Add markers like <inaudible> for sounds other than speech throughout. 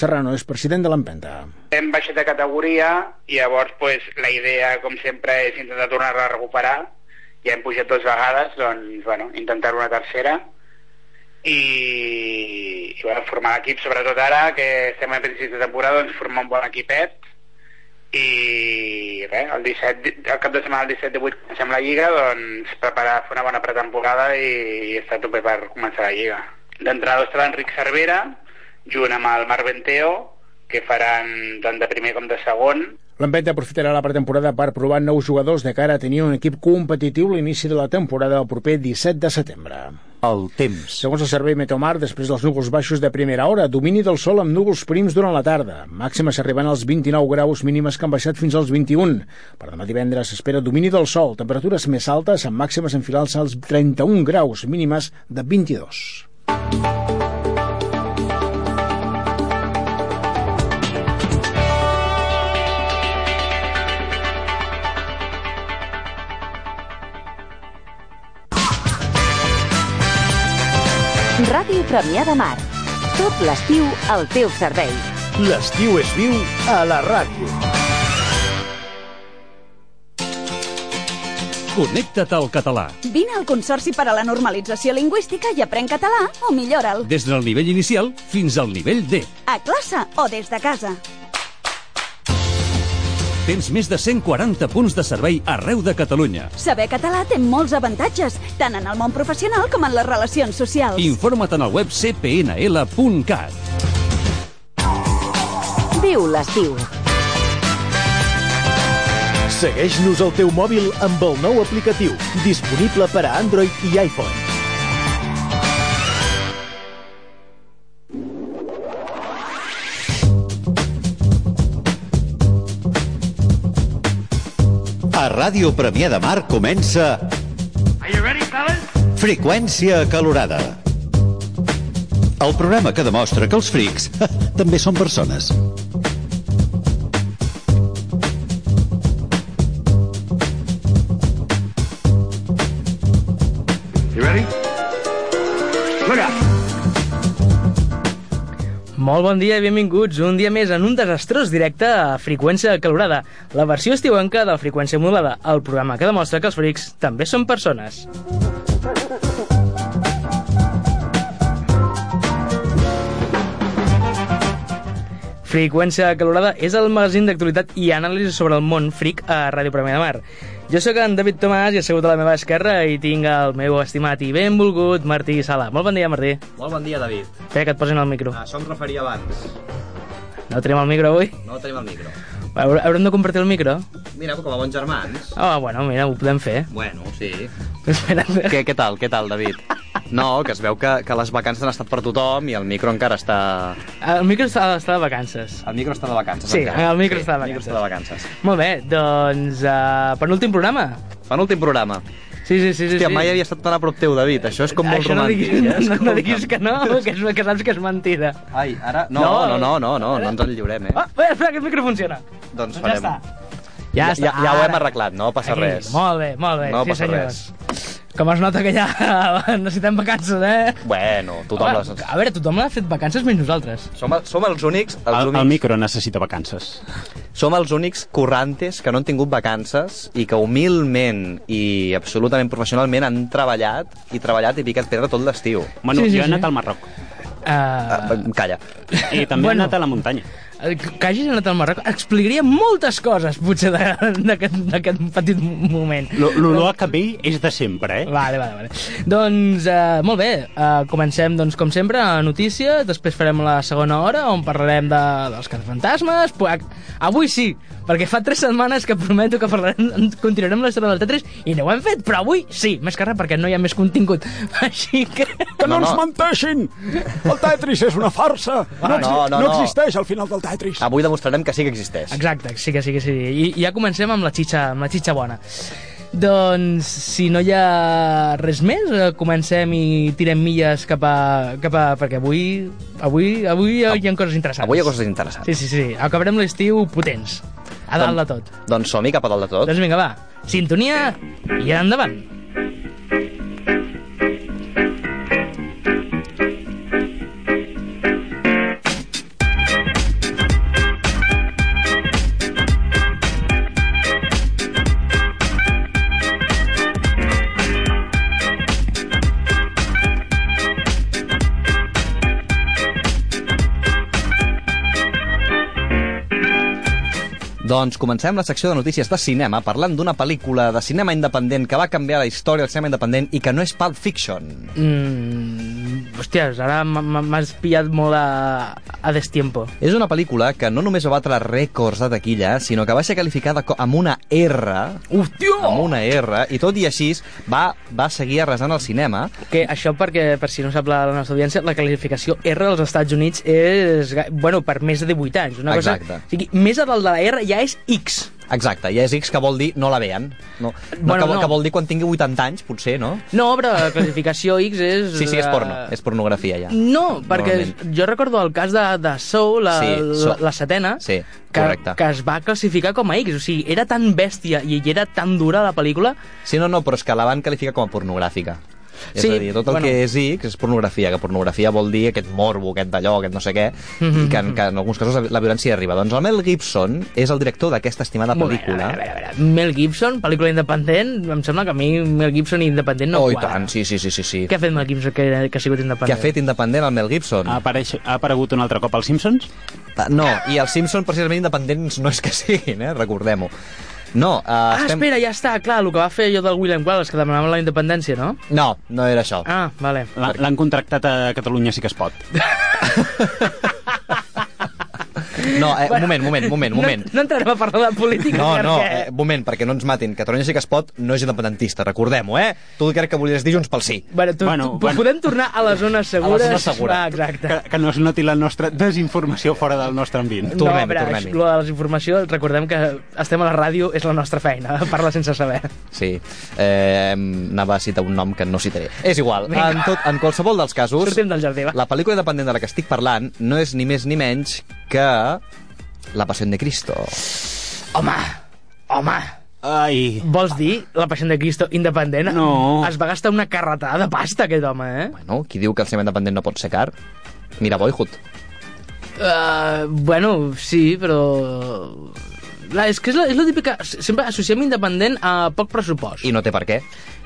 Serrano és president de l'Empenta. Hem baixat de categoria i llavors pues, la idea, com sempre, és intentar tornar-la a recuperar. Ja hem pujat dues vegades, doncs, bueno, intentar una tercera i, i bueno, formar l'equip, sobretot ara que estem a principi de temporada, doncs formar un bon equipet i res, el, 17, el cap de setmana del 17-18 comencem la Lliga, doncs preparar, fer una bona pretemporada i, i estar a tope per començar la Lliga. D'entrada estarà Enric Cervera, junt amb el Marc Venteo, que faran tant de primer com de segon. L'Empenta aprofitarà la pretemporada per provar nous jugadors de cara a tenir un equip competitiu l'inici de la temporada el proper 17 de setembre. El temps. Segons el servei Metomar, després dels núvols baixos de primera hora, domini del sol amb núvols prims durant la tarda. Màximes arribant als 29 graus, mínimes que han baixat fins als 21. Per demà divendres s'espera domini del sol, temperatures més altes amb màximes enfilant-se als 31 graus, mínimes de 22. Ràdio Premià de Mar. Tot l'estiu al teu servei. L'estiu és viu a la ràdio. Connecta't al català. Vine al Consorci per a la Normalització Lingüística i aprèn català o millora'l. Des del nivell inicial fins al nivell D. A classe o des de casa. Tens més de 140 punts de servei arreu de Catalunya. Saber català té molts avantatges, tant en el món professional com en les relacions socials. Informa't en el web cpnl.cat. Viu l'estiu. Segueix-nos al teu mòbil amb el nou aplicatiu, disponible per a Android i iPhone. A Ràdio Premià de Mar comença... Are you ready, fellas? Freqüència acalorada. El programa que demostra que els frics <laughs> també són persones. You ready? Look out! Molt bon dia i benvinguts un dia més en un desastrós directe a Freqüència Calorada, la versió estiuenca de la Freqüència Modulada, el programa que demostra que els frics també són persones. Freqüència Calorada és el magazín d'actualitat i anàlisi sobre el món fric a Ràdio Premià de Mar. Jo sóc en David Tomàs i assegut a la meva esquerra i tinc el meu estimat i benvolgut Martí Sala. Molt bon dia, Martí. Molt bon dia, David. Espera que et posin el micro. A Ah, Això em referia abans. No tenim el micro avui? No tenim el micro. Haure- Haurem de compartir el micro? Mira, com a bons germans. Ah, bueno, mira, ho podem fer. <laughs> Bueno, sí. Espera. Què, què tal, què tal, David? No, que es veu que, que les vacances han estat per tothom i el micro encara està... El micro està, està de vacances. El micro està de vacances, Sí, encara. el micro sí, està de El micro vacances. està de vacances. Molt bé, doncs uh, penúltim programa. Penúltim programa. Sí, sí, sí. sí Hòstia, sí. mai havia estat tan a prop teu, David. Això és com molt Això no romàntic. diguis, no, eh? És no, com no un- diguis que <laughs> no, que, és, que saps que és mentida. Ai, ara... No, No. no, no, no, no, no ens en lliurem, eh? Ah, espera, espera, aquest micro funciona. Doncs ja farem... està. Ja, Ja ja, està, ja ho hem ara. arreglat, no passa Aquí, res. Molt bé, molt bé, No sí passa senyors. Com es nota que ja <laughs> necessitem vacances, eh? Bueno, tothom Home, les... A veure, tothom l'ha fet vacances menys nosaltres. Som, som els únics... Els El, únics... el micro necessita vacances. Som els únics currantes que no han tingut vacances i que humilment i absolutament professionalment han treballat i treballat i picat pedra tot l'estiu. Bueno, Sí, sí, jo he sí. anat al Marroc. Uh, Uh, calla. I també he Bueno. anat a la muntanya. Eh, que hagis anat al Marroc explicaria moltes coses, potser, de- d'aquest d'aquest petit moment. L- L'olor a cabell és de sempre, eh? Vale, vale, vale. Doncs, eh, molt bé, eh, comencem, doncs, com sempre, a notícies, després farem la segona hora, on parlarem de, dels cazafantasmes, po- ac- avui sí, perquè fa tres setmanes que prometo que parlarem, continuarem la història del Tetris, i no ho hem fet, però avui sí, més que res, perquè no hi ha més contingut. <laughs> Així que... Que no, no No, ens no. Ah, menteixin! El Tetris és una farsa! No, exi no, no, no, Ah. no, no. existeix al final del Tetris. Avui demostrarem que sí que existeix. Exacte, sí que sí que sí. I, i ja comencem amb la xitxa, amb la xitxa bona. Doncs, si no hi ha res més, eh, comencem i tirem milles cap a... Cap a perquè avui, avui, avui hi ha, hi ha coses interessants. Avui hi ha coses interessants. Sí, sí, sí. Acabarem l'estiu potents. A dalt de tot. Doncs som-hi cap a dalt de tot. Doncs vinga, va. Sintonia i endavant. Doncs comencem la secció de notícies de cinema parlant d'una pel·lícula de cinema independent que va canviar la història del cinema independent i que no és Pulp Fiction. Mm, hòsties, ara m- m- m'has pillat molt a, a destiempo. És una pel·lícula que no només va batre rècords de taquilla, sinó que va ser qualificada co- amb una R. Hòstia! Amb una R, i tot i així va, va seguir arrasant al cinema. Que això perquè, per si no sap la, la nostra audiència, la qualificació R als Estats Units és, ga- bueno, per més de 18 anys. Una Exacte. cosa, o sigui, més a dalt de la R ja és X. Exacte, i és X que vol dir no la veien. No, no, Bueno, que, vol, no. que vol dir quan tingui 80 anys, potser, no? No, però la classificació X és... Sí, sí, és eh, porno, és pornografia ja. No, perquè jo recordo el cas de, de Soul, la, Sí, la- Soul. la setena, Sí, que, correcte. que es va classificar com a X. O sigui, era tan bèstia i era tan dura la pel·lícula... Sí, no, no, però és que la van qualificar com a pornogràfica. És Sí, a dir, tot el bueno. bueno. que és X és pornografia, que pornografia vol dir aquest morbo, aquest d'allò, aquest no sé què, Mhm, i que, en- que en alguns casos la, la violència hi arriba. Doncs el Mel Gibson és el director d'aquesta estimada Molt bé, pel·lícula. a veure, a veure, Mel Gibson, pel·lícula independent, em sembla que a mi Mel Gibson independent no oh, i quadra. tant, sí, sí, sí, sí. sí. Què Ah, ha fet Mel Gibson que, que ha sigut independent? Què ha fet independent el Mel Gibson? Ha, apareix, ha aparegut un altre cop als Simpsons? No, i els Simpson precisament independents no és que siguin, eh? recordem-ho. No, eh, Ah, espera, ja està, clar, el que va fer jo del William Wallace, que demanava la independència, no? No, no era això. Ah, vale. L'han l'han contractat a Catalunya sí que es pot. No, eh, un moment, un moment, un moment, un moment. <laughs> No, no entrarem a parlar de política, No, no, perquè... eh, un moment, perquè no ens matin. Catalunya sí que es pot, no és independentista, recordem-ho, eh? Tu crec que volies dir Junts pel Sí. Bueno, tu, bueno, Bueno, tu, bueno. podem tornar a les zones segures? A la zona segura. Ah, exacte. Que, que no es noti la nostra desinformació fora del nostre ambient. no, a veure, això, lo de les informacions, recordem que estem a la ràdio, és la nostra feina, <laughs> parla sense saber. Sí, eh, anava a citar un nom que no citaré. És igual, Vinga. en, tot, en qualsevol dels casos... Sortim del jardí, va. La pel·lícula independent de la que estic parlant no és ni més ni menys que... La Passió de Cristo. Home, home, Ai. Vols dir la passió de Cristo independent? No. Es va gastar una carretada de pasta, aquest home, eh? No? Qui diu que el cinema independent no pot ser car? Mira Boyhood. Uh, bueno, sí, però... eh, La, és que és la, és la típica... Sempre associem independent a poc pressupost. I no té per què.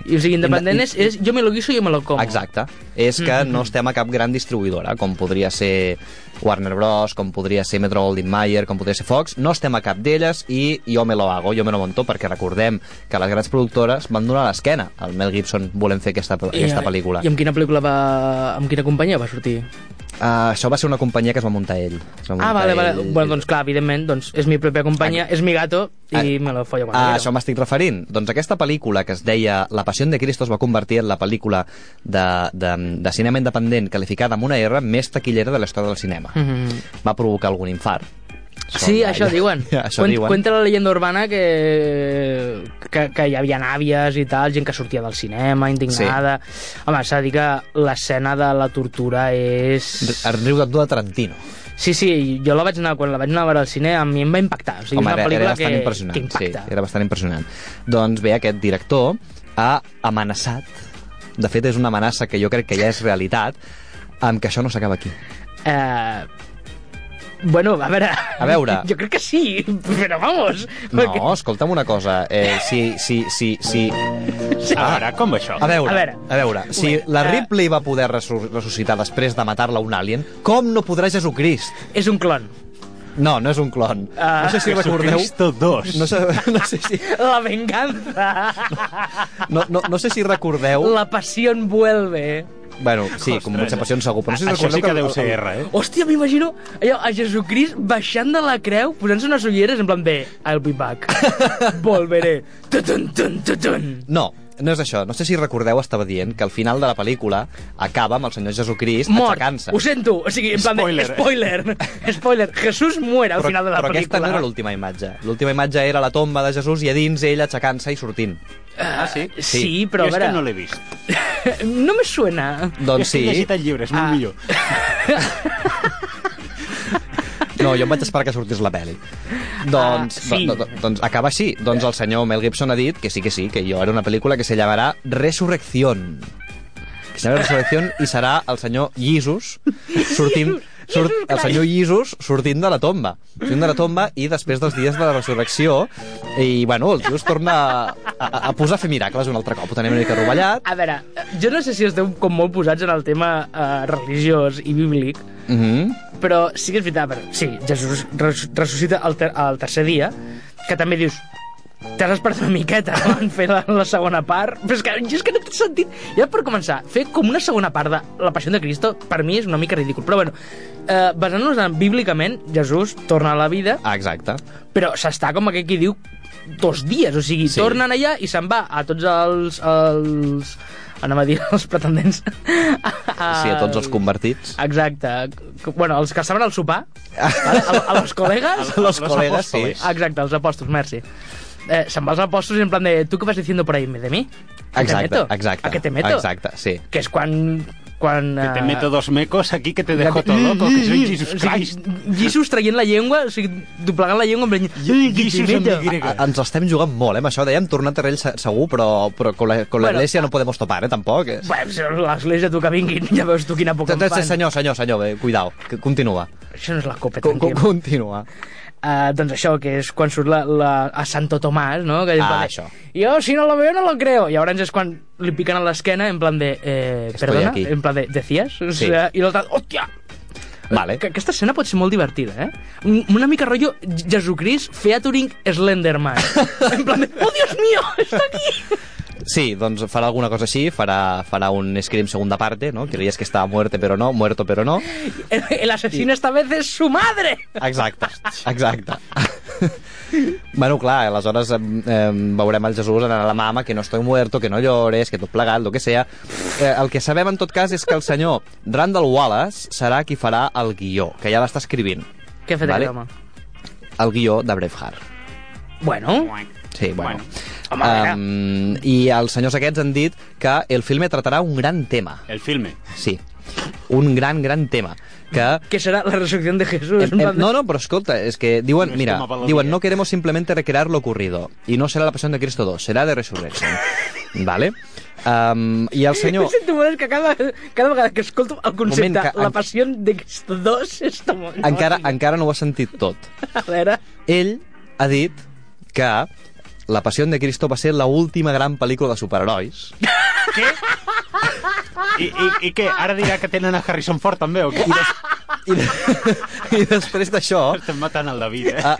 I, o sigui, independent Inde- és, és jo me lo guiso, jo me lo como. Exacte. És <laughs> que Mhm. no estem a cap gran distribuïdora, com podria ser Warner Bros, com podria ser Metro Goldwyn Mayer, com podria ser Fox. No estem a cap d'elles i jo me lo hago, jo me lo monto, perquè recordem que les grans productores van donar l'esquena al Mel Gibson volent fer aquesta, aquesta pel·lícula. I amb quina pel·lícula va... amb quina companyia va sortir? Uh, això va ser una companyia que es va muntar ell. Es Ah, va muntar vale, vale. ell. Bueno, doncs clar, evidentment, doncs és mi pròpia companyia, és mi gato i me lo follo quan A quiero. això m'estic referint. Doncs aquesta pel·lícula que es deia La passió de Cristo es va convertir en la pel·lícula de, de, de cinema independent qualificada amb una R més taquillera de la història del cinema. Mhm. Va provocar algun infart. Sí, Som- això <laughs> diuen. això Cuen- diuen. Cuenta la leyenda urbana que, que, que hi havia àvies i tal, gent que sortia del cinema, indignada... Sí. Home, s'ha de dir que l'escena de la tortura és... El riu de de Tarantino. Sí, sí, jo la vaig anar, quan la vaig anar a veure al cine, a mi em va impactar. O sigui, Home, és una era, era pel·lícula bastant que, impressionant. que impacta. Sí, era bastant impressionant. Doncs bé, aquest director ha amenaçat, de fet és una amenaça que jo crec que ja és realitat, amb que això no s'acaba aquí. Eh, bueno, a veure... A veure. <laughs> Jo crec que sí, però vamos... No, escolta'm una cosa. Eh, si, si, si, si... Ah, Sí. A veure, com això? A veure, A a veure. veure, a veure si la eh, Ripley va poder ressu- ressuscitar després de matar-la un alien, com no podrà Jesucrist? És un clon. No, no és un clon. Ah. no sé si recordeu... Jesucristo dos. No sé, <laughs> no sé si, La venganza. no, no, no sé si recordeu... La pasión vuelve. Bueno, sí, com potser passió segur, però no sé si Això recordeu sí que deu el- ser el- R, eh? Hòstia, m'imagino allò, a Jesucrist baixant de la creu, posant-se unes ulleres, en plan, bé, I'll be <laughs> back. Volveré. Tutun, tun, tutun. No, no és això. No sé si recordeu, estava dient que al final de la pel·lícula acaba amb el senyor Jesucrist Mort. aixecant-se. Ho sento. O sigui, en plan, Spoiler, spoiler, eh? de, spoiler. <laughs> Spoiler. Jesús muere al però, final de la però aquesta pel·lícula. no era l'última imatge. L'última imatge era la tomba de Jesús i a dins ell aixecant-se i sortint. Ah, sí? Sí, però a jo és veure... que no l'he vist. no me suena. Doncs sí. He llegit el llibre, és molt Ah. millor. No, jo em vaig esperar que sortís la pel·li. Doncs, Ah, sí. do, do, doncs acaba així. Doncs el senyor Mel Gibson ha dit que sí, que sí, que jo era una pel·lícula que se llamarà Resurrección. Que serà Resurrección i serà el senyor Jesus <laughs> sortint... Surt, el senyor Jesus sortint de la tomba. Sortint de la tomba i després dels dies de la resurrecció i, bueno, el tio es torna a, a, a posar a fer miracles un altre cop. Ho tenim una mica rovellat. A veure, jo no sé si esteu com molt posats en el tema eh, religiós i bíblic, Mm -hmm. Però sí que és veritat, però, sí, Jesús res ressuscita el, ter el tercer dia, que també dius, t'has esperat una miqueta en fer la, la segona part, però és que, jo és que no té sentit. Ja per començar, fer com una segona part de La Passió de Cristo, per mi és una mica ridícul, però bueno, eh, basant-nos en bíblicament, Jesús torna a la vida, Ah, Exacte. però s'està com aquell qui diu dos dies, o sigui, sí. tornen allà i se'n va a tots els... els anava a dir els pretendents. Sí, a tots els convertits. Exacte. Bueno, els que estaven al sopar, vale? a, a los colegas... A <laughs> los colegas, sí. Exacte, els apòstols, merci. Eh, se'n va als apòstols en plan de tu què vas diciendo por ahí de mi? ¿A que te Exacte, meto? exacte. A que te meto? Exacte, sí. Que és quan... quan Que te eh, meto Dos mecos aquí que te dejo que- todo loco, que soy Jesus O sigui, Christ. Jesús traient la llengua, o sigui, doblegant la llengua en plan... "Jesús en mi A, a- ens l'estem jugant molt, eh, amb això. Dèiem tornar a terrell se- segur, però, però con la, con la Bueno, iglesia no podem topar, eh, tampoc. És... Bueno, si l'església tu que vinguin, ja veus tu quina por que em fan. Senyor, senyor, senyor, bé, cuidao, que continua. Això no és la copa, Co- co- Continua. Uh, doncs això, que és quan surt la, la, a Santo Tomàs, no? Que Ah, vale, això. Jo, si no la veo, no la creo. I llavors és quan li piquen a l'esquena, en plan de... Eh, perdona? aquí. En plan de, decías? O Sí. sea, I l'altre, hòstia! Vale. Que aquesta escena pot ser molt divertida, eh? Un- Una mica rotllo Jesucrist featuring Slenderman. en plan de, oh, Dios mío, está aquí! Sí, doncs farà alguna cosa així, farà, farà un scream segunda parte, no? Creías que estava muerte, però no, muerto, però no. El, el asesino esta vez es su madre! Exacte, exacte. <laughs> bueno, clar, aleshores eh, eh, veurem el Jesús anar a la mama, que no estoy muerto, que no llores, que tot plegat, lo que sea. Eh, el que sabem, en tot cas, és que el senyor Randall Wallace serà qui farà el guió, que ja l'està escrivint. Què ha fet aquest Vale. home? El guió de Braveheart. Bueno, Sí, bueno. bueno. Um, I els senyors aquests han dit que el filme tratarà un gran tema. El filme? Sí. Un gran, gran tema. Que... que serà la resurrecció de Jesús. en Em- em- plan de- no, no, pero escolta, es que diuen, No es mira, como Pablo diuen, Miguel. no queremos simplemente recrear lo ocurrido. Y no será la pasión de Cristo 2, será <laughs> de Resurrection. ¿Vale? Um, I el senyor... Em sento molt és que cada, cada vegada que escolto el concepte Moment, que La en- passió de Cristo 2 és com... Encara, encara no ho ha sentit tot. A veure... Ell ha dit que La passió de Cristo va ser la última gran pel·lícula de superherois. I, i, I què? Ara dirà que tenen a Harrison Ford també, o què? I, <laughs> I després d'això... Estem matant el David, eh? Ah,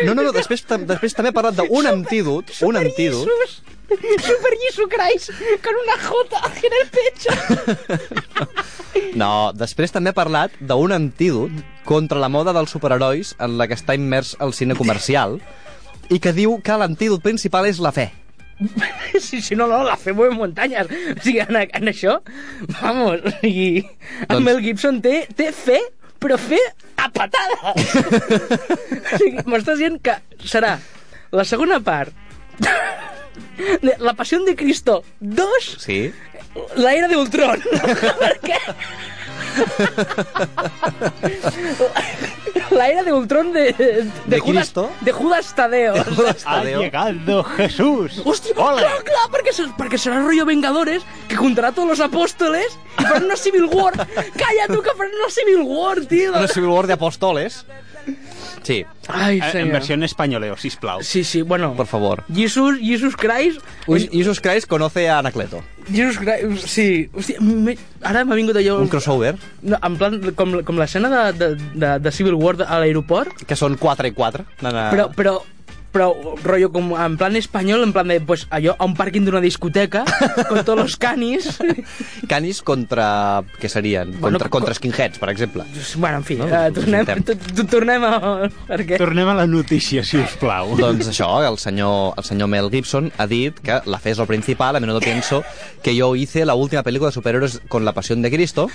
No, no, no, després, tam- després també ha parlat d'un antídot, un antídot, Jesús, super Jesús Christ, con una jota en el pecho. <laughs> No, després també ha parlat d'un antídot contra la moda dels superherois en la que està immers el cine comercial i que diu que l'antídot principal és la fe. Si, si no, no, la fem en muntanyes. O sigui, en, en això, vamos, o sigui, Doncs- doncs... Mel Gibson té, té fe, però fe a <laughs> patada. o sigui, m'estàs dient que serà la segona part de La passió de Cristo 2 Sí? La era de Ultron. per què? La era de Ultron de... De, De Judas- Cristo? De Judas Tadeo. Ha llegado Jesús. Hòstia, clar, clar, perquè, ser- perquè serà rollo Vengadores que contarà tots los apòstoles i faran una Civil War. Calla tu, que faran una Civil War, tio. Una Civil War de apòstoles. Sí. Ai, Eh, En senyor. versió en espanyoleo, sisplau. Sí, sí, bueno. Por favor. Jesus, Jesus Christ... Jesus Christ conoce a Anacleto. Jesus Christ, sí. Hòstia, m'he- ara m'ha vingut allò... Un crossover No, en plan, com, com l'escena de, de, de, de Civil War a l'aeroport, que són 4 i 4. No, no. però, però, però rotllo com en plan espanyol, en plan de, pues, allò, a un pàrquing d'una discoteca, con todos los canis... Canis contra... Què serien? Contra, Bueno, bueno, contra skinheads, per exemple. Bueno, en fi, No, no, uh, tornem, interns. t -t tornem a... Per què? Tornem a la notícia, si us plau. Doncs això, el senyor, el senyor Mel Gibson ha dit que la fe es lo principal, a menudo pienso que yo hice la última película de superhéroes con la pasión de Cristo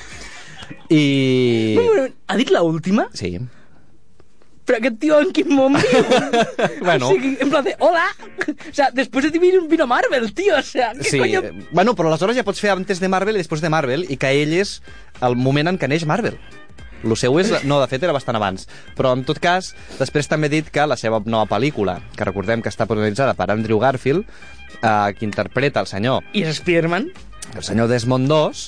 i... Ha dit l'última? Sí. Però aquest tio en quin món viu? Bueno. O sigui, en plan de, hola! O sea, després de ti vino, vino Marvel, tio, o sea, què Sí, coño... bueno, però aleshores ja pots fer antes de Marvel i després de Marvel i que ell és el moment en què neix Marvel. Lo seu és... No, de fet, era bastant abans. Però, en tot cas, després també he dit que la seva nova pel·lícula, que recordem que està protagonitzada per Andrew Garfield, eh, que interpreta el senyor I és Spiderman? El senyor Desmond 2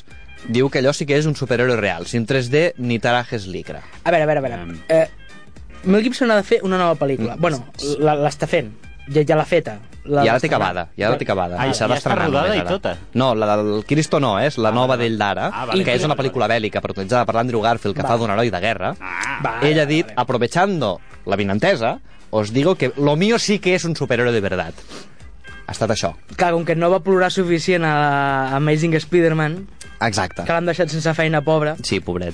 diu que allò sí que és un superhéroe real, sin 3D ni tarajes licra. A veure, a veure, a veure. Mm. Eh, Mel Gibson ha de fer una nova pel·lícula. Bueno, la- l'està fent. Ja, ja l'ha feta. La I ara té acabada, i ara té acabada. Ah, I s'ha ja d'estrenar està rodada només i ara. tota. No, la del Cristo no, eh, és la nova d'ell d'ara, Ah, i vale. Ah, que és una pel·lícula bèl·lica protagonitzada per l'Andrew Garfield, que fa d'un heroi de guerra. Ell ha dit, aprovechando la vinentesa, os digo que lo mío sí que es un superhéroe de verdad. Ha estat això. Clar, com que no va plorar suficient a la Amazing Spider-Man, Exacte. que l'han deixat sense feina, pobra, Sí, pobret.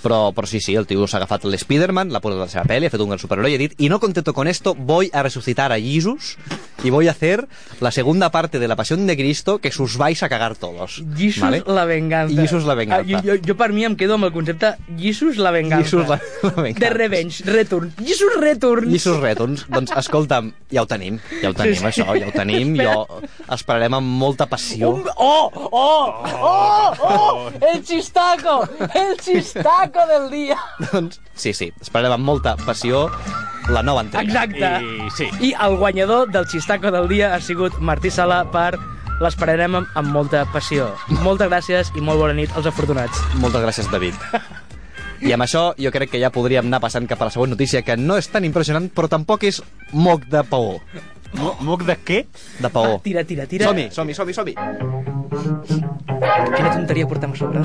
Però, però sí, sí, el tio s'ha agafat l'Spiderman, l'ha posat a la seva pel·li, ha fet un gran superheroi i ha dit «Y no contento con esto, voy a resucitar a Jesus y voy a hacer la segunda parte de la Pasión de Cristo que sus vais a cagar todos». Jesus la venganza. Jesus la venganza. Ah, jo, jo, jo, per mi em quedo amb el concepte Jesus la venganza. Jesus la, la venganza. The Revenge, Return. Jesus Return. Lliços rètons. Doncs escolta'm, ja ho tenim, ja ho tenim, Sí, sí, sí. això, ja ho tenim. <laughs> Jo esperarem amb molta passió. Un... Oh, oh, oh, oh, el chistaco, el chistaco del dia. Doncs, sí, sí, esperarem amb molta passió la nova entrega. Exacte. I el guanyador del chistaco del dia ha sigut Martí Sala per L'esperarem amb, amb molta passió. Moltes gràcies i molt bona nit als afortunats. Moltes gràcies, David. I amb això jo crec que ja podríem anar passant cap a la següent notícia, que no és tan impressionant, però tampoc és moc de paó. Mo moc de què? De paó. Ah, tira, tira, tira. Oh. Som-hi, som-hi, som-hi, som-hi. Quina tonteria portem a sobre.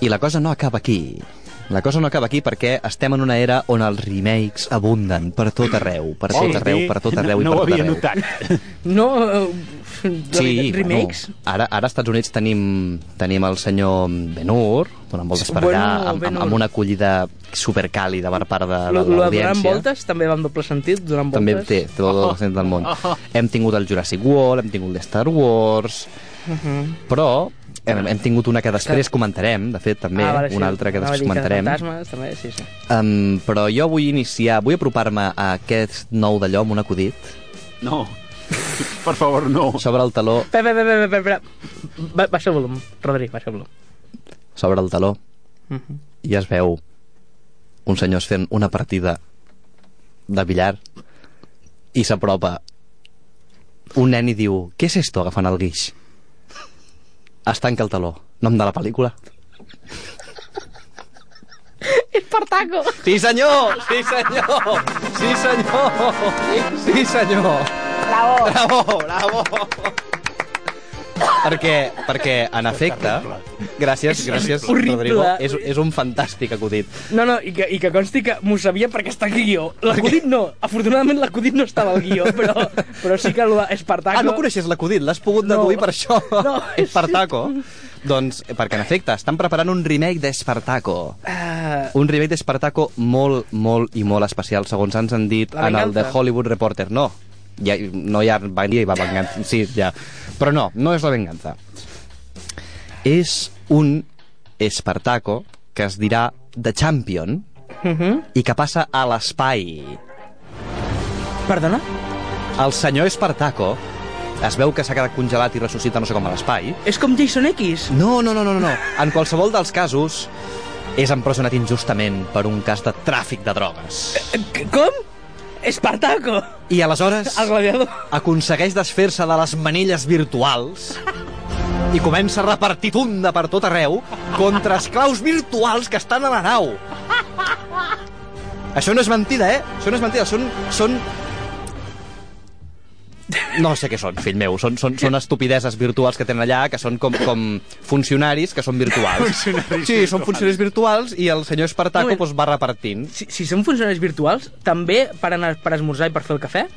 I la cosa no acaba aquí. La cosa no acaba aquí perquè estem en una era on els remakes abunden per tot arreu, per Sí. tot arreu, per tot No- arreu i no per ho tot havia arreu. notat. No, eh, de Sí, veritat, remakes? Bueno, ara, ara als Estats Units tenim, tenim el senyor Benur, donant voltes per Bueno, allà, amb, Ben amb, Hur. amb una acollida supercàlida per part de, Lo, lo de de donant l'audiència. voltes també va en doble sentit, donant També voltes. té, té tot el sentit del món. Oh. Hem tingut el Jurassic World, hem tingut el Star Wars, Mhm. però hem, hem tingut una que després comentarem, de fet, també, Ah, vale, sí. una altra que Anava a després dir comentarem. Fantasmes, també, sí, sí. Um, però jo vull iniciar, vull apropar-me a aquest nou d'allò amb un acudit. No. Per favor, no. Oh. Sobre el taló, Espera, espera, espera, espera, espera. Ba- Baixa el volum, Rodri, baixa el volum. sobre el taló, Mhm. i es veu uns senyors fent una partida de billar i s'apropa un nen i diu què és esto agafant el guix? Es tanca el taló. Nom de la pel·lícula. Espartaco! Sí, senyor! Sí, senyor! Sí, senyor! Sí, senyor! Bravo! Bravo, bravo! Perquè, perquè en efecte... Gràcies, gràcies, horrible. Rodrigo. És, és un fantàstic acudit. No, no, i que, i que consti que m'ho sabia perquè està aquí guió. L'acudit no, afortunadament l'acudit no estava al <laughs> guió, però, però sí que el Espartaco... Ah, no coneixes l'acudit, l'has pogut deduir <laughs> per això. <laughs> No. Espartaco. Doncs, perquè en efecte, estan preparant un remake d'Espartaco. Ah, Un remake d'Espartaco molt, molt i molt especial, segons ens han dit La en el venganza. de Hollywood Reporter. No, ja, no hi ha venganza, hi va venganza, sí, ja. Però no, no és la venganza. És un Espartaco que es dirà The Champion Mhm. i que passa a l'espai. Perdona? El senyor Espartaco es veu que s'ha quedat congelat i ressuscita no sé com a l'espai. És com Jason X? No, no, no, no, no, no. En qualsevol dels casos és empresonat injustament per un cas de tràfic de drogues. Eh, C- Com? Espartaco! I aleshores El gladiador. aconsegueix desfer-se de les manilles virtuals i comença a repartir tunda per tot arreu contra esclaus virtuals que estan a la nau. Això no és mentida, eh? Això no és mentida. Són... són... No sé què són, fill meu. Són, són, són estupideses virtuals que tenen allà, que són com, com funcionaris que són virtuals. Funcionaris sí, són funcionaris virtuals i el senyor Espartaco Moment. doncs, va repartint. Si, si són funcionaris virtuals, també paren a, per esmorzar i per fer el cafè?